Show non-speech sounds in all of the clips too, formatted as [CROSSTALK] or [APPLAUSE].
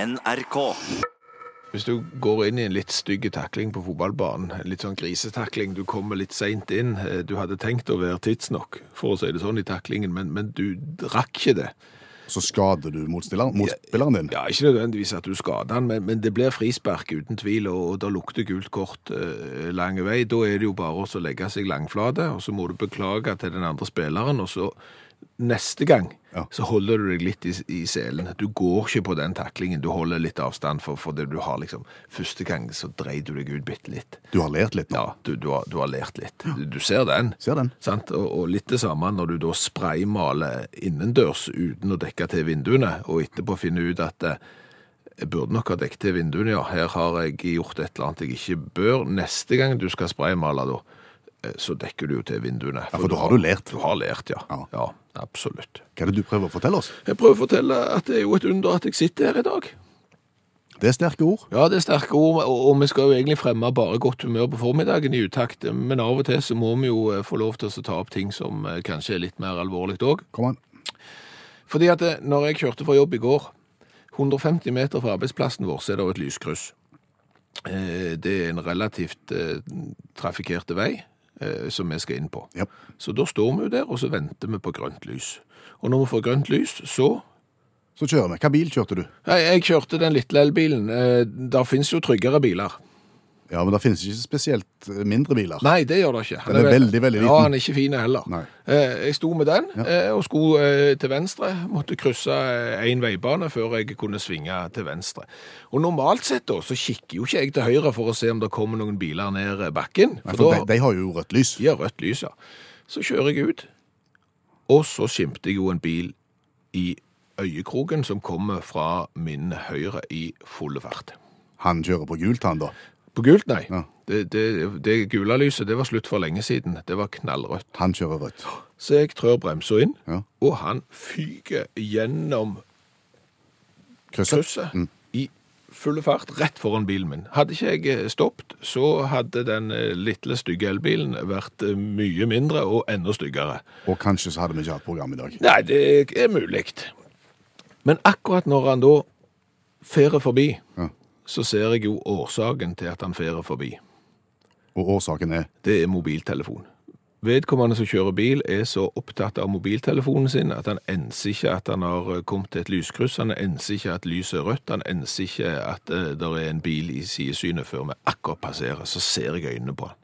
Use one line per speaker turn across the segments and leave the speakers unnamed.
NRK.
Hvis du går inn i en litt stygg takling på fotballbanen, en litt sånn grisetakling, du kommer litt seint inn, eh, du hadde tenkt å være tidsnok, for å si det sånn, i taklingen, men, men du rakk ikke det.
Så skader du motspilleren, motspilleren din.
Ja, Ikke nødvendigvis at du skader han, men, men det blir frispark uten tvil, og, og det lukter gult kort eh, lang vei. Da er det jo bare å så legge seg langflate, og så må du beklage til den andre spilleren, og så neste gang
Ja.
så holder du deg litt i, i selen. Du går ikke på den taklingen, du holder litt avstand, for, for det du har liksom Første gang så dreier du deg ut bitte litt.
Du har lært litt nå.
Ja, du, du, har, du har lært litt. Du, du ser den.
Ser den.
Sant? Og, og litt det samme når du da spraymaler innendørs uten å dekke til vinduene, og etterpå finner ut at eh, jeg burde nok ha dekket til vinduene, ja. Her har jeg gjort et eller annet jeg ikke bør. Neste gang du skal spraymale, da, eh, så dekker du jo til vinduene.
for da har du lært.
Du har lært, ja.
Ja.
Ja, absolutt.
Hva er det du prøver å fortelle oss?
Jeg prøver å fortelle at det er jo et under at jeg sitter her i dag.
Det er sterke ord.
Ja, det er sterke ord, og og vi skal jo egentlig fremme bare godt humør på formiddagen i utakt, men av og til så må vi jo eh, få lov til å ta opp ting som eh, kanskje er litt mer alvorlig òg.
Kom an.
Fordi at eh, når jeg kjørte fra jobb i går, 150 meter fra arbeidsplassen vår, så er det et lyskryss. Eh, Det er en relativt eh, trafikkerte vei eh, som vi skal inn på.
Ja.
Så da står vi jo der, og så venter vi på grønt lys. Og når vi får grønt lys, så
Så kjører vi. Hva bil kjørte du?
Nei, jeg kjørte den lille elbilen. Eh, Der fins jo tryggere biler.
Ja, men det finnes ikke spesielt eh, mindre biler.
Nei, det gjør det ikke.
Den er veldig, veldig
Ja,
liten.
han er ikke fin heller.
Nei.
Eh, Jeg sto med den eh, og skulle eh, til venstre. Måtte krysse én veibane før jeg kunne svinge til venstre. Og normalt sett da, så kikker jo ikke jeg til høyre for å se om det kommer noen biler ned bakken. For,
Nei, for de,
da
de har jo rødt lys.
gir rødt lys, ja. Så kjører jeg ut, og så skimter jeg jo en bil i øyekroken som kommer fra min høyre i full fart.
Han kjører på gult, han da.
På gult, nei.
Ja.
Det, det, det gule lyset, det var slutt for lenge siden. Det var knallrødt.
Han kjører rødt.
Så jeg trør bremsa inn,
Ja.
og han fyker gjennom
Krysset.
krysset i full fart rett foran bilen min. Hadde ikke jeg eh, stoppet, så hadde den eh, lille stygge elbilen vært eh, mye mindre og enda styggere.
Og kanskje så hadde vi ikke hatt program i dag.
Nei, det er mulig. Men akkurat når han da ferer forbi,
Ja.
så ser jeg jo årsaken til at han ferer forbi.
Og årsaken er
det er mobiltelefon. Vedkommende som kjører bil er så opptatt av mobiltelefonen sin at han enser ikke at han har eh, kommet til et lyskryss, han enser ikke at lyset er rødt, han enser ikke at det er en bil i sidesynet før vi akkurat passerer, så ser jeg øynene på han.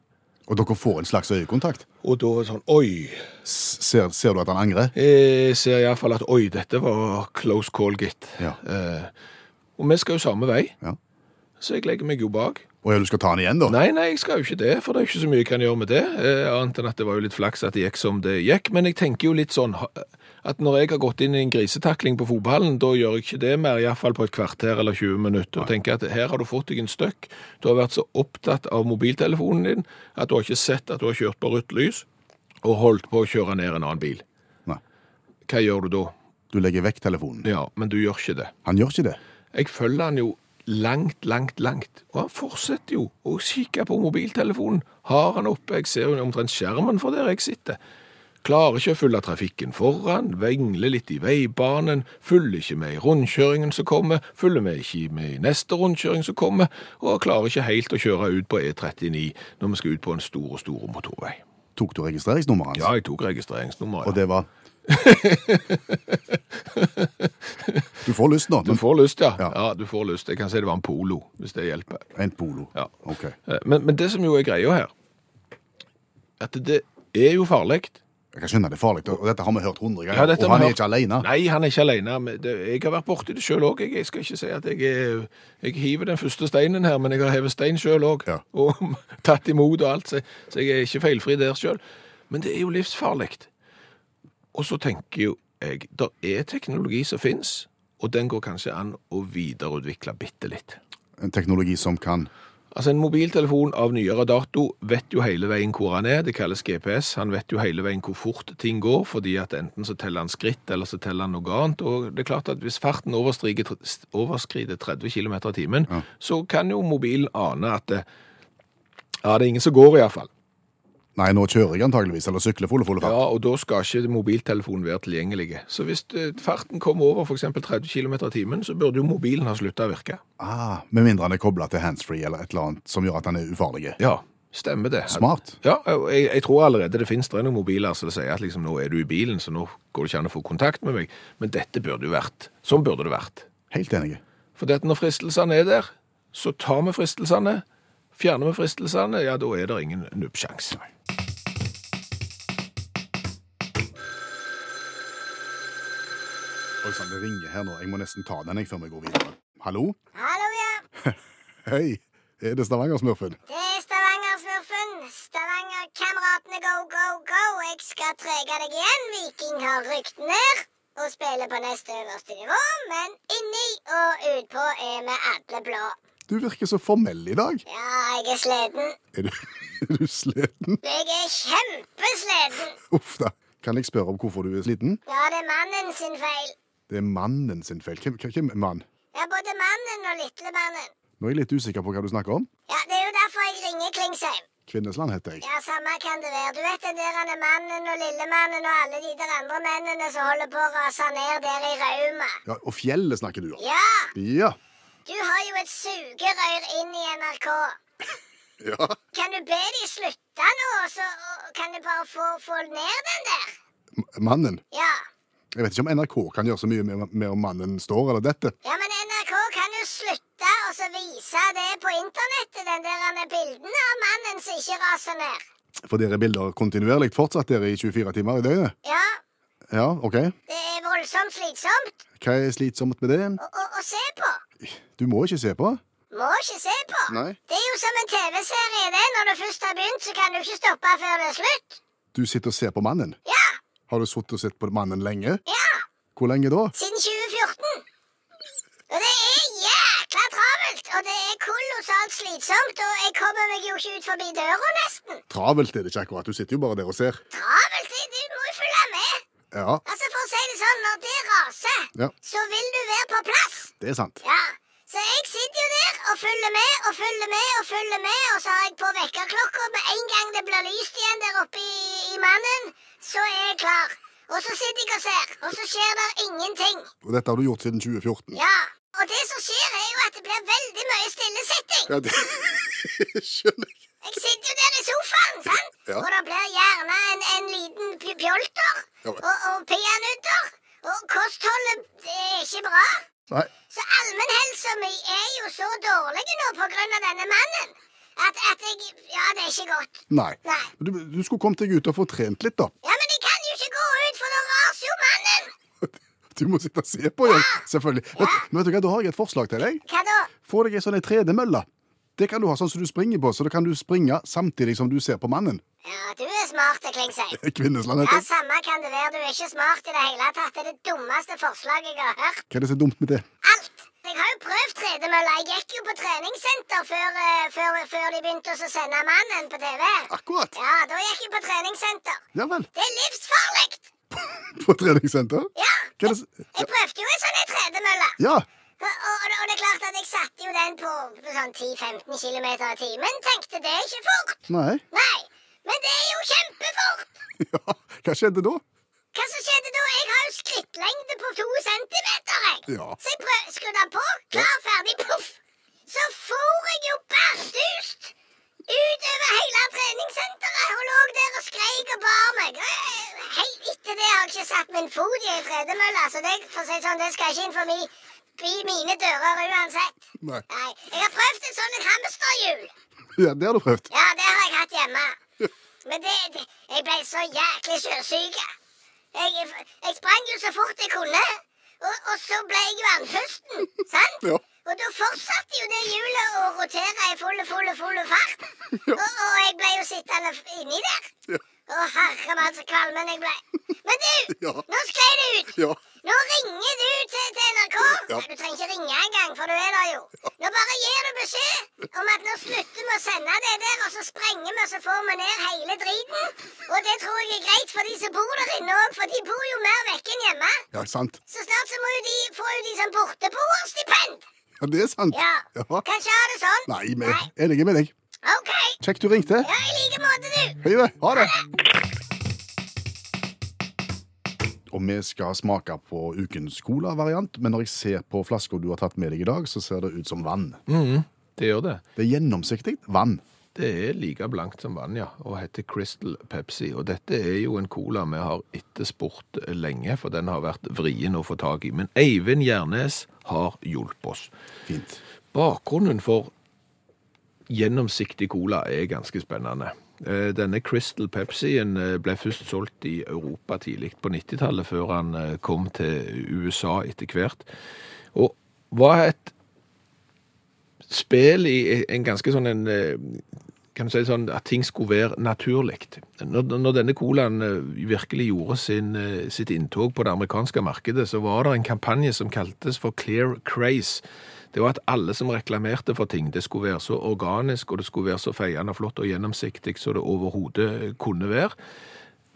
Og dere får en slags øyekontakt.
Og da er det sånn, oi,
S- Ser, ser du at han angrer?
jeg ser i hvert fall at oi, dette var close call, gitt.
Ja.
Eh, og vi skal jo samme vei,
Ja.
så jeg legger meg jo bak.
Og ja, du skal ta han igjen, da?
Nei, nei, jeg skal jo ikke det, for det er ikke så mye jeg kan gjøre med det. Eh, annet enn at det var jo litt flaks at det gikk som det gikk. Men jeg tenker jo litt sånn ha- at når jeg har gått inn i en grisetakling på fotballen, da gjør jeg ikke det mer, iallfall på et kvarter eller 20 minutter. Og tenker at her har du fått deg en støkk. Du har vært så opptatt av mobiltelefonen din at du har ikke sett at du har kjørt på rødt lys og holdt på å kjøre ned en annen bil.
Nei.
Hva gjør du da?
Du legger vekk telefonen.
Ja, men du gjør ikke det.
Han gjør ikke det.
Jeg følger han jo langt, langt, langt. Og han fortsetter jo å kikke på mobiltelefonen. Har han oppe, jeg ser jo omtrent skjermen fra der jeg sitter. Klarer ikke å følge trafikken foran, vengler litt i veibanen, følger ikke med i rundkjøringen som kommer, følger med ikke med i neste rundkjøring som kommer, og klarer ikke helt å kjøre ut på E39 når vi skal ut på en stor og stor motorvei.
Tok du registreringsnummeret hans?
Ja, jeg tok registreringsnummeret.
Og det var Du får lyst nå.
Du
Men
får lyst, ja. ja.
Ja.
du får lyst. Jeg kan si det var en polo, hvis det hjelper.
en polo.
Ja.
Ok.
Eh, Men, men det som jo er greia her, at det er jo farlig.
Jeg kan skjønne det er farlig, og dette har vi hørt hundre ganger.
Ja, dette
og
har
han
vi
er
hørt.
ikke alene.
Nei, han er ikke alene. men det- Jeg har vært borti det sjøl òg. Jeg jeg skal ikke si at jeg, er- jeg hiver den første steinen her, men jeg har hevet stein sjøl òg.
Ja.
[LAUGHS] Og tatt imot og alt, så, så jeg er ikke feilfri der sjøl. Men det er jo livsfarlig. Og så tenker jo jeg der er teknologi som fins, og den går kanskje an å videreutvikle bitte litt.
En teknologi som kan
Altså En mobiltelefon av nyere dato vet jo hele veien hvor han er. Det kalles GPS. Han vet jo hele veien hvor fort ting går, fordi at enten så teller han skritt, eller så teller han noe annet. Og det er klart at Hvis farten overstiger tr- st- overskrider 30 km i timen, så kan jo mobilen ane at det, ja, det er ingen som går, iallfall.
Nei, nå kjører jeg antageligvis, eller sykler fulle, fulle fart.
Ja, og da skal ikke mobiltelefonen være tilgjengelig. Så hvis eh, farten kommer over f.eks. 30 km i timen, så burde jo mobilen ha slutta å virke.
Ah, med mindre han er kobla til handsfree eller et eller annet som gjør at han er ufarlig.
Ja, stemmer det.
Smart.
Ja, og jeg, jeg tror allerede det finnes det er noen mobiler som sier at liksom, nå er du i bilen, så nå går det ikke an å få kontakt med meg. Men dette burde jo vært. Sånn burde det vært.
Helt enig.
For det at når fristelsene er der, så tar vi fristelsene. Fjerner vi fristelsene, ja, da er det ingen nubbsjans.
Oi sann, det ringer her nå. Jeg må nesten ta den jeg før vi går videre. Hallo?
Hallo, ja.
Hei, er det Stavanger-smurfen?
Det er Stavanger-smurfen. Stavanger-kameratene go, go, go. Jeg skal trege deg igjen. Viking har rykt ned og spiller på neste øverste nivå. Men inni og utpå er vi alle blå.
Du virker så formell i dag.
Ja, jeg er sliten.
Er du, [LAUGHS] er du sliten?
Jeg er kjempesliten.
Uff da. Kan jeg spørre om hvorfor du er sliten?
Ja, det er mannen sin feil.
Det er mannen sin feil. Hvem, hvem er mann?
Ja, både mannen og lillemannen.
Nå er jeg litt usikker på hva du snakker om.
Ja, det er jo derfor jeg ringer Klingsheim.
Kvinnesland heter jeg.
Ja, samme kan det være. Du vet den der han er mannen og lillemannen og alle de der andre mennene som holder på å rase ned der i Rauma.
Ja, Og fjellet snakker du om.
Ja,
Ja.
du har jo et sugerør inn i NRK.
Ja.
Kan du be de slutte nå, og så og kan du bare få, få ned den der?
M mannen.
Ja.
Jeg vet ikke om NRK kan gjøre så mye med, med om mannen står eller dette.
Ja, men NRK kan jo slutte å så vise det på internettet, den der han er bildene av mannen som ikke raser ned.
For dere er bilder kontinuerlig fortsatt dere i 24 timer i døgnet.
Ja,
Ja, OK.
det er voldsomt slitsomt
Hva er slitsomt med det?
å, å, å se på.
Du må ikke se på.
Må ikke se på.
Nei.
Det er jo som en TV-serie, det. Når du først har begynt, så kan du ikke stoppe før det er slutt.
Du sitter og ser på mannen.
Ja.
Har du sittet og sett på mannen lenge?
Ja.
Hvor lenge da?
Siden 2014. Og det er jækla travelt, og det er kolossalt slitsomt, og jeg kommer meg jo ikke ut forbi døra, nesten.
Travelt er det ikke akkurat. Du sitter jo bare der og ser.
Travelt? det- Du må jo følge med.
Ja,
Altså, for å si det sånn, når det raser,
Ja.
så vil du være på plass.
det er sant.
Ja. Så jeg sitter jo der og følger med og følger med og følger med, og så har jeg på vekkerklokka. Med en gang det blir lyst igjen der oppe i, i mannen, så er jeg klar. Og så sitter jeg og ser, og så skjer det ingenting.
Og dette har du gjort siden 2014.
Ja. Og det som skjer, er jo at det blir veldig mye stillesitting.
Ja, det [LAUGHS] skjønner jeg.
Jeg sitter jo der i sofaen, sant?
Ja.
Og det blir gjerne en, en liten pj- pjolter
Ja, men-
og, og peanøtter. Og kostholdet det er ikke bra.
Nei,
Så allmennhelsa mi er jo så dårlig nå på grunn av denne mannen at, at jeg Ja, det er ikke godt.
nei.
Nei.
Du, du skulle kommet deg ut og få trent litt, da. [LAUGHS]
Ja, men jeg kan jo ikke gå ut, for da raser jo mannen.
Du må sitte og se på igjen, selvfølgelig. Vet, men vet du hva, da har jeg et forslag til deg.
Hva da?
Få deg ei sånn ei tredemølle. Det kan du ha sånn som du springer på, så da kan du springe samtidig som du ser på mannen. [LAUGHS]
Ja, du er smart, Klingsheim.
Kvinnesland
Ja,
heter jeg.
samme kan det være. Du er ikke smart i det hele tatt. Det er det dummeste forslaget jeg har hørt.
Hva er det så dumt med det?
Alt. Jeg har jo prøvd tredemølla. Jeg gikk jo på treningssenter før, eh, før, før de begynte å sende mannen på TV.
Akkurat.
Ja, da gikk jeg på treningssenter.
Ja vel.
Det er livsfarlig!
På treningssenter?
Ja.
Hva er det så...
Jeg prøvde jo en sånn en tredemølle.
Ja.
Og, og, og det er klart at jeg satte jo den på, på sånn 10-15 km i timen. Tenkte det er ikke fort.
Nei. [LAUGHS]
Nei, men det er jo kjempefort.
Ja. Hva skjedde da?
Hva som skjedde da? Jeg har jo skrittlengde på to centimeter, jeg.
Ja.
Så jeg prøv, skrudde den på. Klar, ferdig, poff. Så for jeg jo bardust utover hele treningssenteret og lå der og skreik og bar meg. Og, eh, Helt etter det har jeg ikke satt min fot i ei tredemølle, så det, for å si det sånn, det skal ikke inn forbi forbi mine dører uansett.
Nei.
Nei, jeg har prøvd et sånt hamsterhjul.
Ja, det har du prøvd.
[LAUGHS] Ja, det har jeg hatt hjemme. Men det, det Jeg ble så jæklig sjøsyk. Jeg, jeg sprang jo så fort jeg kunne, og, og så ble jeg jo andpusten, sant?
Ja.
Og da fortsatte jo det hjulet å rotere i full, full, full fart.
[LAUGHS] Ja.
Og, og jeg ble jo sittende f- inni der.
Ja.
Å, herre mann, så kvalmen jeg ble. Men du,
Ja.
nå sklei det ut.
Ja.
Nå ringer du til, til NRK.
Ja.
Nei, Du trenger ikke ringe engang, for du er der jo. Nå bare gir du beskjed om at nå slutter vi å sende det der, og så sprenger vi og så får vi ned hele driten. Og det tror jeg er greit for de som bor der inne òg, for de bor jo mer vekke enn hjemme.
Ja, sant.
Så snart så må jo de få jo de som borteboerstipend.
Ja, det er sant.
Ja.
Ja.
Kanskje ha det sånn.
Nei, men jeg er enig med deg.
OK.
Kjekt du ringte.
Ja, i like måte, du.
Høyre, ha det! Og vi skal smake på ukens cola-variant, men når jeg ser på flaska du har tatt med deg i dag, så ser det ut som vann.
Det gjør det.
Det er gjennomsiktig vann.
Det er like blankt som vann, ja, og heter Crystal Pepsi. Og dette er jo en cola vi har etterspurt lenge, for den har vært vrien å få tak i. Men Eivind Gjernes har hjulpet oss.
Fint.
Bakgrunnen for gjennomsiktig cola er ganske spennende. Eh, Denne Crystal Pepsien eh, ble først solgt i Europa tidlig på 90-tallet, før han eh, kom til USA etter hvert. Og var et spill i en ganske sånn en eh, kan du si sånn at ting skulle være naturlig. Når, når denne colaen eh, virkelig gjorde sin, eh, sitt inntog på det amerikanske markedet, så var det en kampanje som kaltes for Clear Craze. Det var at alle som reklamerte for ting, det skulle være så organisk, og det skulle være så feiende flott og gjennomsiktig som det overhodet eh, kunne være.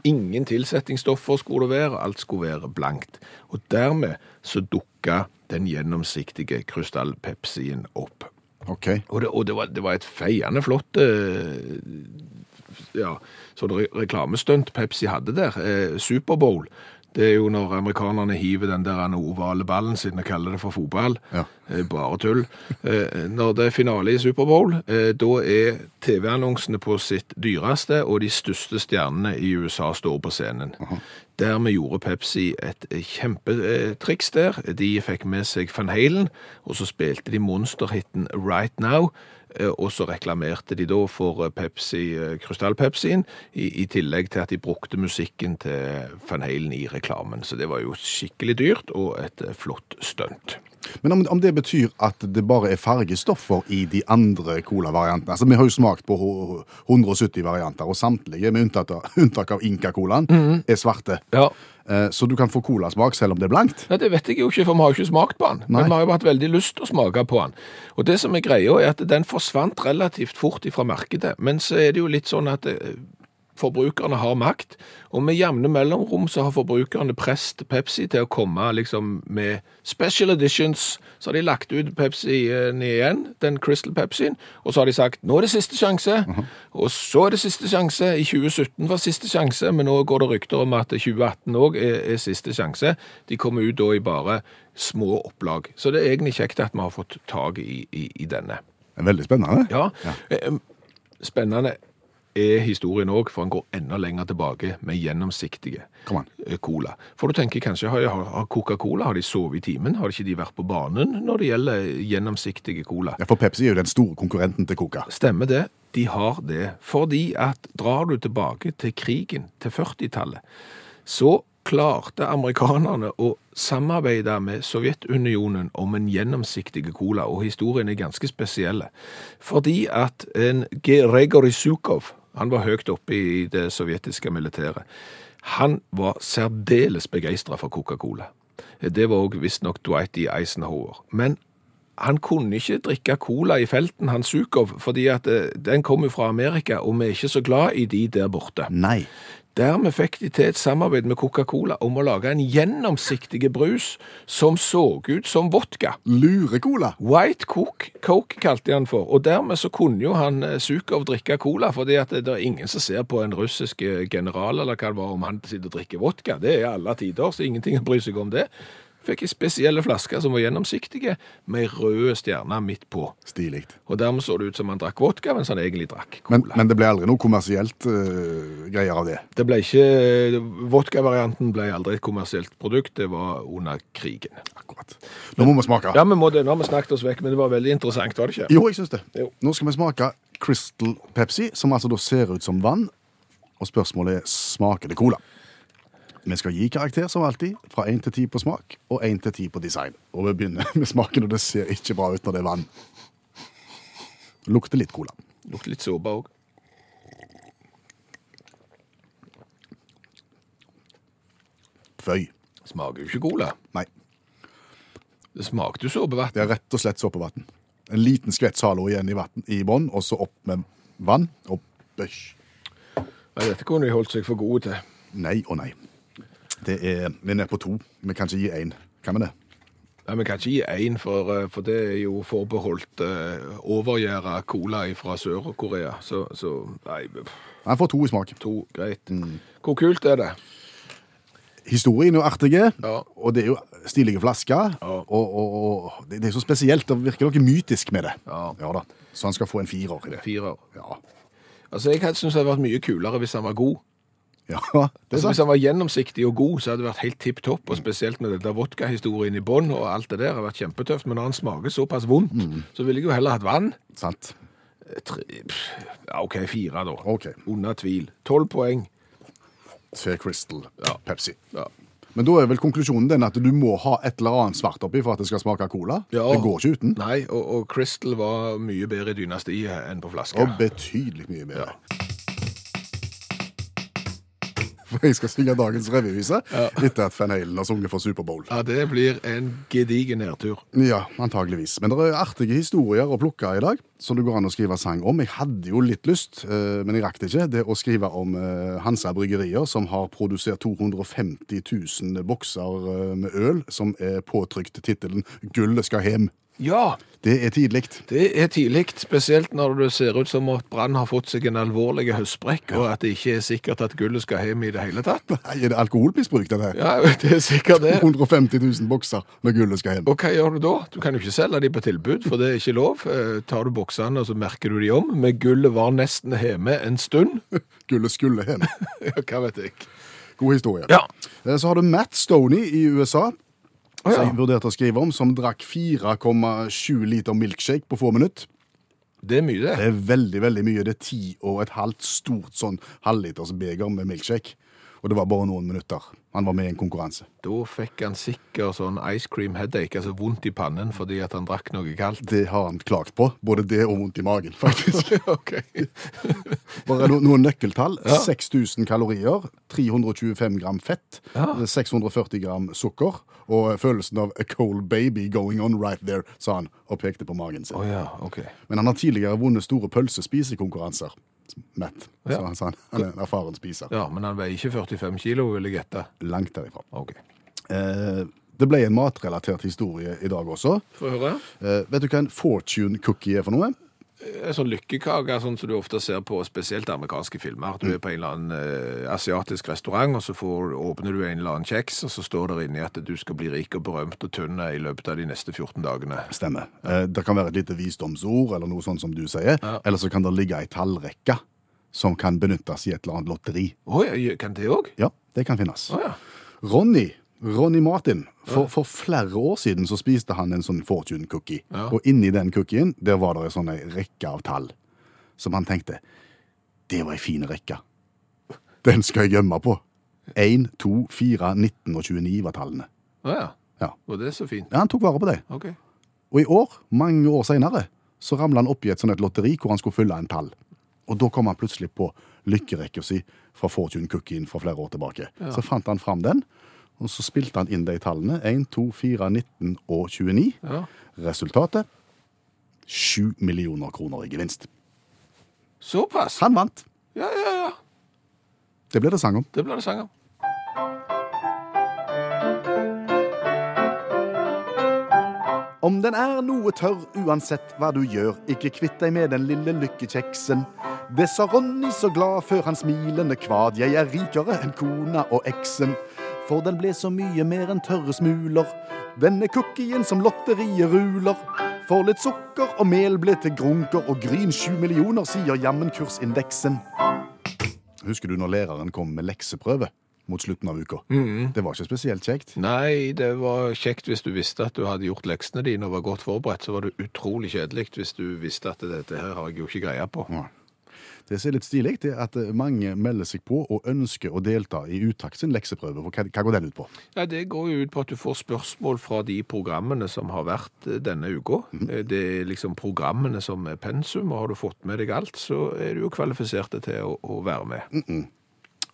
Ingen tilsettingsstoffer skulle det være, alt skulle være blankt. Og dermed så dukka den gjennomsiktige krystallpepsien opp.
OK.
Og det, og det, var, det var et feiende flott eh, ja, sånn re reklamestunt Pepsi hadde der. Eh, Superbowl. Det er jo når amerikanerne hiver den der ovale ballen sin og kaller det for fotball.
Ja.
Eh, bare tull. Eh, når det er finale i Superbowl, eh, da er TV-annonsene på sitt dyreste, og de største stjernene i USA står på scenen. Dermed gjorde Pepsi et eh, kjempetriks der. De fikk med seg Van Halen, og så spilte de monsterhitten Right Now. eh, Og så reklamerte de da for Pepsi, eh, krystallpepsien, i, i tillegg til at de brukte musikken til Van Halen i reklamen. Så det var jo skikkelig dyrt, og et eh, flott stunt.
Men om, om det betyr at det bare er fargestoffer i de andre cola-variantene Altså, Vi har jo smakt på ho- 170 varianter, og samtlige, med unntatt av, [LAUGHS] unntak av Inca-colaen, er svarte.
Ja.
Eh, Så du kan få colasmak selv om det er blankt.
Nei, Det vet jeg jo ikke, for vi har jo ikke smakt på den. Men
Nei.
vi har jo hatt veldig lyst til å smake på den. Og det som er greia, er at den forsvant relativt fort ifra markedet. Men så er det jo litt sånn at eh, forbrukerne har makt, og med jevne mellomrom så har forbrukerne prest Pepsi til å komme liksom med special editions. Så har de lagt ut Pepsien igjen, den Crystal Pepsien, og så har de sagt nå er det siste sjanse, og så er det siste sjanse. I 2017 var siste sjanse, men nå går det rykter om at 2018 òg er, er siste sjanse. De kommer ut da i bare små opplag. Så det er egentlig kjekt at vi har fått tak i, i, i denne.
Det er Veldig spennende.
Ja. Eh, Spennende er historien òg, for han går enda lenger tilbake med gjennomsiktige
Kom an.
eh, cola. For du tenker kanskje, har, har har Coca-Cola har de sovet i timen? Har ikke de vært på banen når det gjelder gjennomsiktige cola?
Ja, For Pepsi er jo den store konkurrenten til Coca.
Stemmer det, de har det. Fordi at drar du tilbake til krigen, til 40-tallet, så klarte amerikanerne å samarbeide med Sovjetunionen om en gjennomsiktig cola, og historien er ganske spesiell. Fordi at en Gregorij Zukov, han var høyt oppe i det sovjetiske militæret, han var særdeles begeistra for Coca-Cola. Det var òg visstnok Dwight D. Eisenhower. Men han kunne ikke drikke cola i felten, han Zukov, fordi at eh, den kom jo fra Amerika, og vi er ikke så glad i de der borte.
Nei.
Dermed fikk de til et samarbeid med Coca-Cola om å lage en gjennomsiktig brus som så ut som vodka.
Lure-cola.
White Coke, Coke kalte de han for, og dermed så kunne jo han eh, Zukov drikke cola, fordi at eh, det det er ingen som ser på en russisk eh, general eller hva det var om han sitter og drikker vodka, det er alle tider, så ingenting bryr seg om det. Fikk en spesielle flaske som var gjennomsiktige, med røde stjerner midt på.
Stilig.
Og dermed så det ut som han drakk vodka, mens han egentlig drakk cola.
Men, men det ble aldri noe kommersielt eh, greier av det.
Det ble ikke, Vodka-varianten ble aldri et kommersielt produkt, det var under krigen.
Akkurat. Nå må vi smake.
Ja, vi må det, nå har vi snakket oss vekk, men det var veldig interessant, var det ikke?
Jo, jeg syns det.
Jo.
Nå skal vi smake Crystal Pepsi, som altså da ser ut som vann. Og spørsmålet er smaker det cola. Vi skal gi karakter, som alltid, fra 1 til 10 på smak og 1 til 10 på design. Og vi begynner [LAUGHS] med smaken, og det ser ikke bra ut når det er vann. Lukter litt cola.
Lukter litt såpe òg.
Føy.
Smaker jo ikke cola.
Nei,
Det smakte jo såpevann.
det er rett og slett såpevann. En liten skvett Zalo igjen i, vatten, i bånn, og så opp med vann. Og bøsj.
Nei, Dette kunne de holdt seg for gode til.
Nei og nei. Det er, vi er nede på to. Vi kan ikke gi én. Kan vi det?
Nei, Vi kan ikke gi én, for, eh, for det er jo forbeholdt eh, overgjæra cola fra Sør-Korea. Så, så nei, pff,
Jeg får to i smak.
to, greit.
Mm.
Hvor kult er det?
Historien er jo artig,
Ja.
og det er jo stilige flasker.
Ja.
Og, og, og det, det er så spesielt. Det virker noe mytisk med det.
Ja.
da. Så han skal få en firer i det.
Firer.
Ja.
Altså, Jeg hadde syntes det hadde vært mye kulere hvis han var god.
ja, det er
Altså, hvis
sant.
han var gjennomsiktig og god, så hadde det vært helt tipp topp. Og spesielt med denne vodkahistorien i bånn og alt det der. hadde vært kjempetøft. Men når han smaker såpass vondt,
Mm.
så ville jeg jo heller hatt vann.
sant.
Eh, Tre, pff, ja, OK, fire, da.
Ok.
Under tvil. Tolv poeng.
Til Crystal
Ja.
Pepsi.
Ja.
Men da er vel konklusjonen den at du må ha et eller annet svart oppi for at det skal smake cola.
Ja.
Det går ikke uten.
Nei, og, og Crystal var mye bedre i dynastiet enn på flaska.
Og betydelig mye bedre. [LAUGHS] For jeg skal synge dagens revyvise etter at Van Halen har sunget for Superbowl.
Ja, det blir en gedigen nedtur.
Ja, antageligvis. Men det er artige historier å plukke i dag, som det går an å skrive sang om. Jeg hadde jo litt lyst, eh, men jeg rakk det ikke, det å skrive om eh, Hansa Bryggerier, som har produsert 250 000 bokser eh, med øl, som er påtrykt tittelen 'Gullet skal hjem'.
Ja,
Det er tidlig.
det er tidlig, spesielt når det ser ut som at Brann har fått seg en alvorlig høstbrekk, og at det ikke er sikkert at gullet skal hjem i det hele tatt.
Nei, Er det alkoholmisbruk, det der?
Ja, [LAUGHS] det er sikkert det.
150 000 bokser med 'Gullet skal hjem'.
Og hva gjør du da? Du kan jo ikke selge de på tilbud, for det er ikke lov. Eh, Tar du boksene, og så merker du de om. Men gullet var nesten hjemme en stund. [LAUGHS]
Gullet skulle hjem.
Ja, hva vet jeg.
God historie.
Ja.
Eh, Så har du Matt Stoney i USA.
Å, ja.
Som jeg vurderte å skrive om, som drakk 4,7 liter milkshake på få minutter.
Det er mye,
Det
det.
er veldig veldig mye. Det er ti og et halvt stort sånn halvliters beger med milkshake. Og det var bare noen minutter. Han var med i en konkurranse.
Da fikk han sikkert sånn ice cream headache, altså vondt i pannen fordi at han drakk noe kaldt. [LAUGHS]
Det har han klagt på. Både det og vondt i magen, [LAUGHS] faktisk.
ok.
Bare no noen nøkkeltall.
Ja.
6000 kalorier, 325 gram fett,
Ja.
640 gram sukker. Og følelsen av a cold baby going on right there, sa han og pekte på magen sin.
Å ja, ok.
Men han har tidligere vunnet store pølsespisekonkurranser. Matt.
Ja.
Så han sa han, han er en erfaren spiser.
Ja, men han veier ikke 45 kilo, vil jeg gjette.
Langt derifra.
Ok.
Eh, det ble en matrelatert historie i dag også.
Få høre.
Eh, vet du hva en fortune cookie er for noe?
En sånn lykkekake, sånn som du ofte ser på spesielt amerikanske filmer. Du er på en eller annen eh, asiatisk restaurant, og så får, åpner du en eller annen kjeks, og så står det inni at du skal bli rik og berømt og tynn i løpet av de neste 14 dagene.
Stemmer. Eh, det kan være et lite visdomsord, eller noe sånt som du sier. Eller så kan det ligge ei tallrekke som kan benyttes i et eller annet lotteri.
Å ja, kan det òg?
Ja, det kan finnes.
Å ja.
Ronny, Ronny Martin, for, for flere år siden så spiste han en sånn fortune cookie.
Ja.
Og inni den cookien, der var det en sånn ei rekke av tall. Som han tenkte, det var ei fin rekke. Den skal jeg gjemme på. 1, 2, 4, 19 og 29 var tallene.
Å ja.
Ja.
Og det er så fint.
Ja, han tok vare på det.
Ok.
Og i år, mange år senere, så ramla han opp i et sånt et lotteri hvor han skulle fylle en tall. Og da kom han plutselig på lykkerekka si fra Fortune Cookien fra flere år tilbake. Så fant han fram den, og så spilte han inn de tallene. 1, 2, 4, 19 og 29.
Ja.
Resultatet 7 millioner kroner i gevinst.
Såpass?
Han vant.
Ja, ja, ja.
Det ble det sang om.
Det blir det sang om.
Om den er noe tørr, uansett hva du gjør, ikke kvitt deg med den lille lykkekjeksen. Det sa Ronny så glad før han smilende kvad, jeg er rikere enn kona og eksen. For den ble så mye mer enn tørre smuler, denne cookien som lotteriet ruler. For litt sukker og mel ble til grunker, og gryn sju millioner, sier jammen kursindeksen. Husker du når læreren kom med lekseprøve mot slutten av uka? Det var ikke spesielt kjekt.
Nei, det var kjekt hvis du visste at du hadde gjort leksene dine og var godt forberedt. Så var det utrolig kjedelig hvis du visste at dette her har jeg jo ikke greie på.
Det som er litt stilig, det er at mange melder seg på og ønsker å delta i Utakt sin lekseprøve. For hva, hva går den ut på?
Nei, Det går jo ut på at du får spørsmål fra de programmene som har vært eh, denne uka. Eh, Det er liksom programmene som er pensum, og har du fått med deg alt, så er du jo kvalifisert til å, å være med.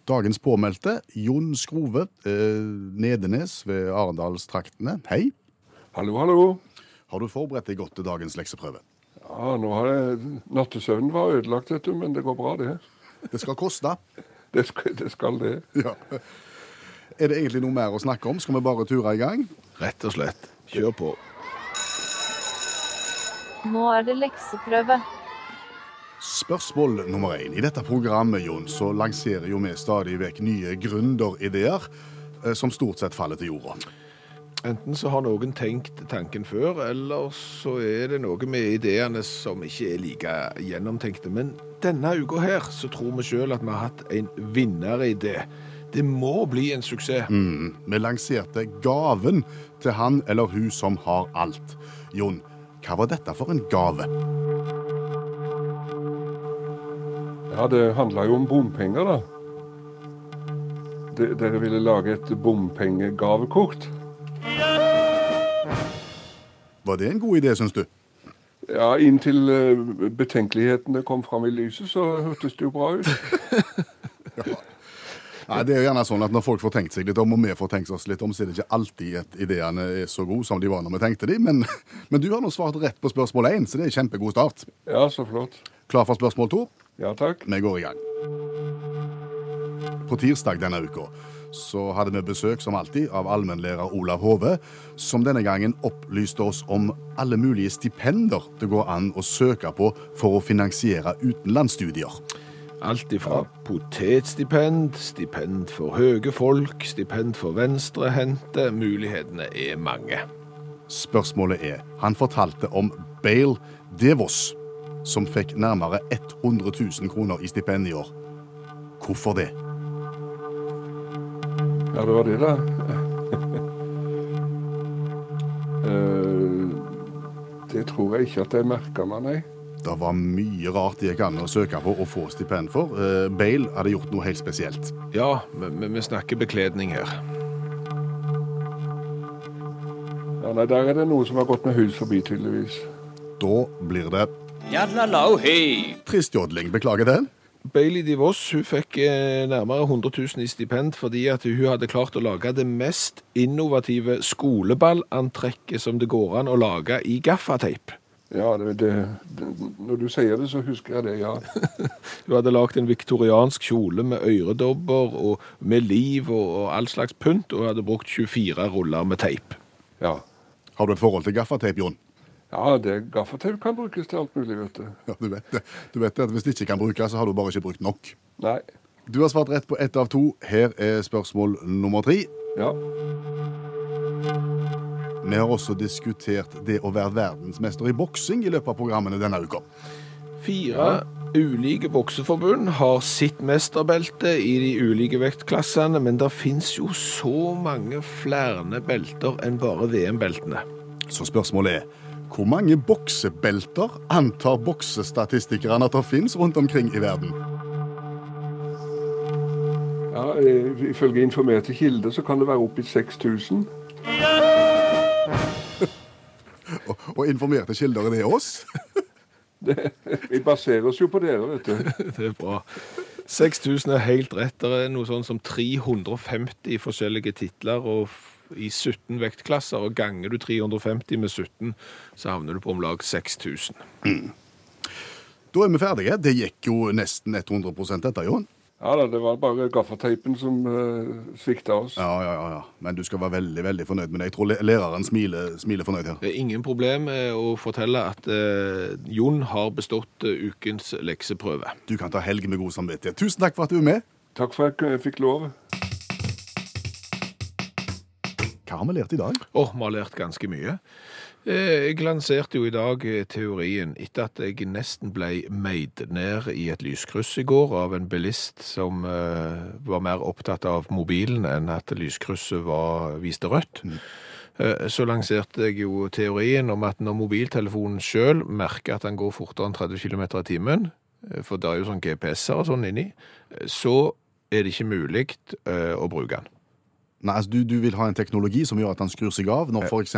Dagens påmeldte, Jon Skrove eh, Nedenes ved Arendalstraktene. Hei.
Hallo, hallo.
Har du forberedt deg godt til dagens lekseprøve?
Ja, nå har jeg, Nattesøvnen var ødelagt, vet du, men det går bra, det.
[LAUGHS] Det skal koste.
Det skal det. Skal det.
Ja. Er det egentlig noe mer å snakke om? Skal vi bare ture i gang?
Rett og slett. Kjør på.
Nå er det lekseprøve.
Spørsmål nummer én. I dette programmet Jon, så lanserer jo vi stadig vekk nye gründerideer eh, som stort sett faller til jorda.
Enten så har noen tenkt tanken før, eller så er det noe med ideene som ikke er like gjennomtenkte. Men denne uka her så tror vi sjøl at vi har hatt en vinneridé. Det må bli en suksess.
Vi lanserte gaven til han eller hun som har alt. Jon, hva var dette for en gave?
Ja, det handla jo om bompenger, da. De, dere ville lage et bompengegavekort.
Var det en god idé, syns du?
Ja, Inntil eh, betenkelighetene kom fram i lyset, så hørtes det jo bra ut.
Nei, det er jo gjerne sånn at Når folk får tenkt seg litt om, og vi får tenkt oss litt om, så er det ikke alltid at ideene er så gode som de var når vi tenkte de, men, [LAUGHS] men du har nå svart rett på spørsmål én, så det er en kjempegod start.
Ja, så flott.
Klar for spørsmål to?
Ja takk.
Vi går i gang. På tirsdag denne uka så hadde vi besøk, som alltid, av allmennlærer Olav Hove, som denne gangen opplyste oss om alle mulige stipender det går an å søke på for å finansiere utenlandsstudier.
Alt ifra potetstipend, stipend for høye folk, stipend for venstrehendte. Mulighetene er mange.
Spørsmålet er Han fortalte om Bale Devos, som fikk nærmere 100 000 kroner i stipend i år. Hvorfor det?
Ja, det var det, da. [LAUGHS] Eh, det tror jeg ikke at jeg merka meg, nei.
Det var mye rart det gikk an å søke på og få stipend for. Eh, Bale hadde gjort noe helt spesielt.
Ja, vi- vi vi snakker bekledning her.
Ja, nei, Der er det noe som har gått med hus forbi, tydeligvis.
Da blir det
Yalla lo hei.
trist jodling. Beklager den.
Bailey DeVos hun fikk eh, nærmere 100 000 i stipend fordi at hun hadde klart å lage det mest innovative skoleballantrekket som det går an å lage i gaffateip.
Ja, det, det, det, Når du sier det, så husker jeg det, ja.
Hun hadde lagd en viktoriansk kjole med øredobber og med liv og, og all slags pynt, og hun hadde brukt 24 ruller med teip.
Ja,
Har du et forhold til gaffateip, Jon? [LAUGHS]
ja det gaffatau kan brukes til alt mulig, vet du.
Ja, du vet det. Du vet det at Hvis det ikke kan brukes, så har du bare ikke brukt nok.
Nei.
Du har svart rett på ett av to. Her er spørsmål nummer tre.
Ja.
Vi har også diskutert det å være verdensmester i boksing i løpet av programmene denne uka.
Fire ulike bokseforbund har sitt mesterbelte i de ulike vektklassene, men det fins jo så mange flere belter enn bare VM-beltene.
Så spørsmålet er hvor mange boksebelter antar boksestatistikerne at det finnes rundt omkring i verden?
ja eh, ifølge informerte kilder så kan det være opp i 6000.
Og, og informerte kilder er det oss? [LAUGHS]
Vi baserer oss jo på dere, vet du.
Det er bra. 6000 er helt rett. Det er noe sånn som 350 forskjellige titler og f- i 17 vektklasser. og Ganger du 350 med 17, så havner du på om lag 6000.
Da er vi ferdige. Det gikk jo nesten 100 dette, Jon.
Ja da, det var bare gaffateipen som uh, svikta oss.
Ja, ja, ja, ja. Men du skal være veldig veldig fornøyd med det. Jeg tror le- læreren smiler, smiler fornøyd her.
Det er ingen problem eh, å fortelle at eh, Jon har bestått eh, ukens lekseprøve.
Du kan ta helg med god samvittighet. Tusen takk for at du er med.
Takk for at jeg fikk lov.
Hva har vi lært i dag?
Åh, vi har lært ganske mye. Eh, Jeg lanserte jo i dag eh, teorien etter at jeg nesten ble meid ned i et lyskryss i går av en bilist som eh, var mer opptatt av mobilen enn at lyskrysset var, viste rødt. Eh, Så lanserte jeg jo teorien om at når mobiltelefonen sjøl merker at den går fortere enn 30 km i timen, eh, for det er jo sånn GPS-er og sånn inni, eh, så er det ikke mulig eh, å bruke den.
Nei, altså, du, du vil ha en teknologi som gjør at han skrur seg av når f.eks.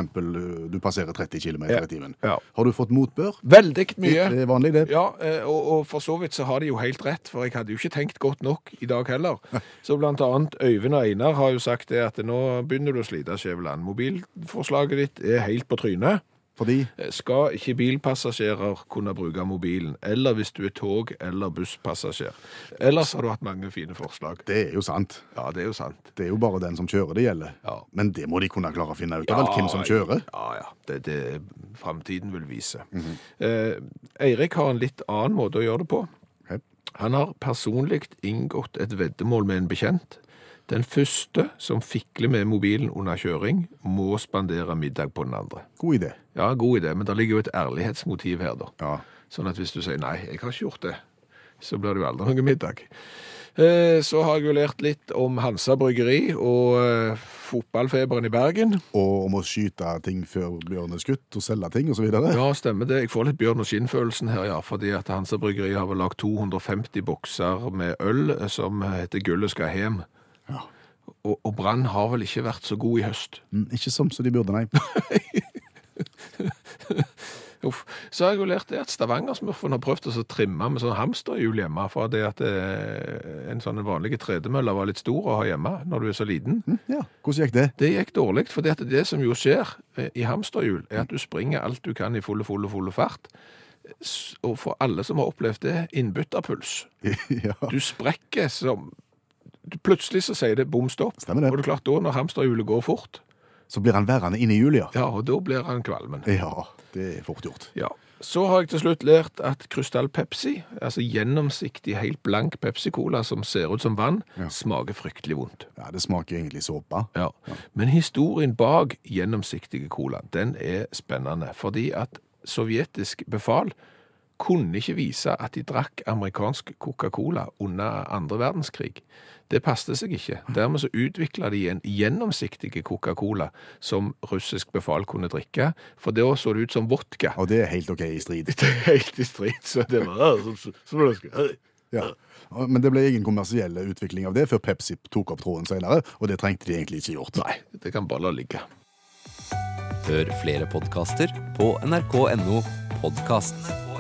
du passerer 30 km i timen.
Ja.
Har du fått motbør?
Veldig mye.
Det er vanlig, det.
Ja, eh, og, og for så vidt så har de jo helt rett, for jeg hadde jo ikke tenkt godt nok i dag [LAUGHS] heller. Så blant annet Øyvind og Einar har jo sagt det at nå begynner du å slite, Skjæveland. Mobilforslaget ditt er helt på trynet. Eh,
Fordi
Skal ikke bilpassasjerer kunne bruke mobilen, eller hvis du er tog- eller busspassasjer? Ellers har du hatt mange fine forslag.
det er jo sant.
Ja, det er jo sant.
Det er jo bare den som kjører det gjelder.
Ja.
Men det må de kunne klare å finne ut av, vel, hvem som kjører.
Ja, ja. Det det framtiden vil vise. eh, Eirik har en litt annen måte å gjøre det på.
Ok.
Han har personlig inngått et veddemål med en bekjent. Den første som fikler med mobilen under kjøring, må spandere middag på den andre.
God idé.
Ja, god idé, men det ligger jo et ærlighetsmotiv her, da.
Ja.
Sånn at hvis du sier nei, jeg har ikke gjort det, så blir det jo aldri noen middag. Eh, Så har jeg jo lært litt om Hansa Bryggeri og eh, fotballfeberen i Bergen.
Og om å skyte ting før bjørnen er skutt, og selge ting osv. videre
Ja, stemmer det. Jeg får litt Bjørn og Skinn-følelsen her, ja. Fordi at Hansa Bryggeri har vel lagd 250 bokser med øl eh, som heter Gullet skal hjem. Og, og Brann har vel ikke vært så god i høst.
Mm, Ikke som så de burde, nei. [LAUGHS]
Uff. Så har jeg jo lært det at Stavanger-smurfen har prøvd å så trimme med sånn hamsterhjul hjemme, for det at eh, en sånn vanlig tredemølle var litt stor å ha hjemme når du er så liten.
Ja, Hvordan gikk det? [LAUGHS]
Det gikk dårlig, for det, det som jo skjer eh, i hamsterhjul, er at du springer alt du kan i fulle, fulle, fulle fart. S- Og for alle som har opplevd det, innbytterpuls.
ja.
Du sprekker som du, Plutselig så sier det bom stopp.
Stemmer det.
Og det er klart da, når hamsterhjulet går fort,
Så blir han værende inne i Julia.
ja, og da blir han kvalmen.
Ja, det er fort gjort.
Ja. Så har jeg til slutt lært at Krystall Pepsi, altså gjennomsiktig, helt blank Pepsi-cola som ser ut som vann, smaker fryktelig vondt.
Ja, Det smaker egentlig såpe.
Ja. Men historien bak gjennomsiktige cola, den er spennende. Fordi at sovjetisk befal kunne ikke vise at de drakk amerikansk Coca-Cola under andre verdenskrig. Det passte seg ikke. Dermed så utvikla de en gjennomsiktig Coca-Cola som russisk befal kunne drikke, for da så det ut som vodka.
Og det er helt OK i strid.
[LAUGHS] Det er helt i strid, så det var som, som, som
Ja. Og- Men det ble ingen kommersiell utvikling av det før Pepsi tok opp tråden senere, og det trengte de egentlig ikke gjort. Nei.
Det kan bare la ligge.
Hør flere podkaster på nrk.no podkast. 'Podkast'.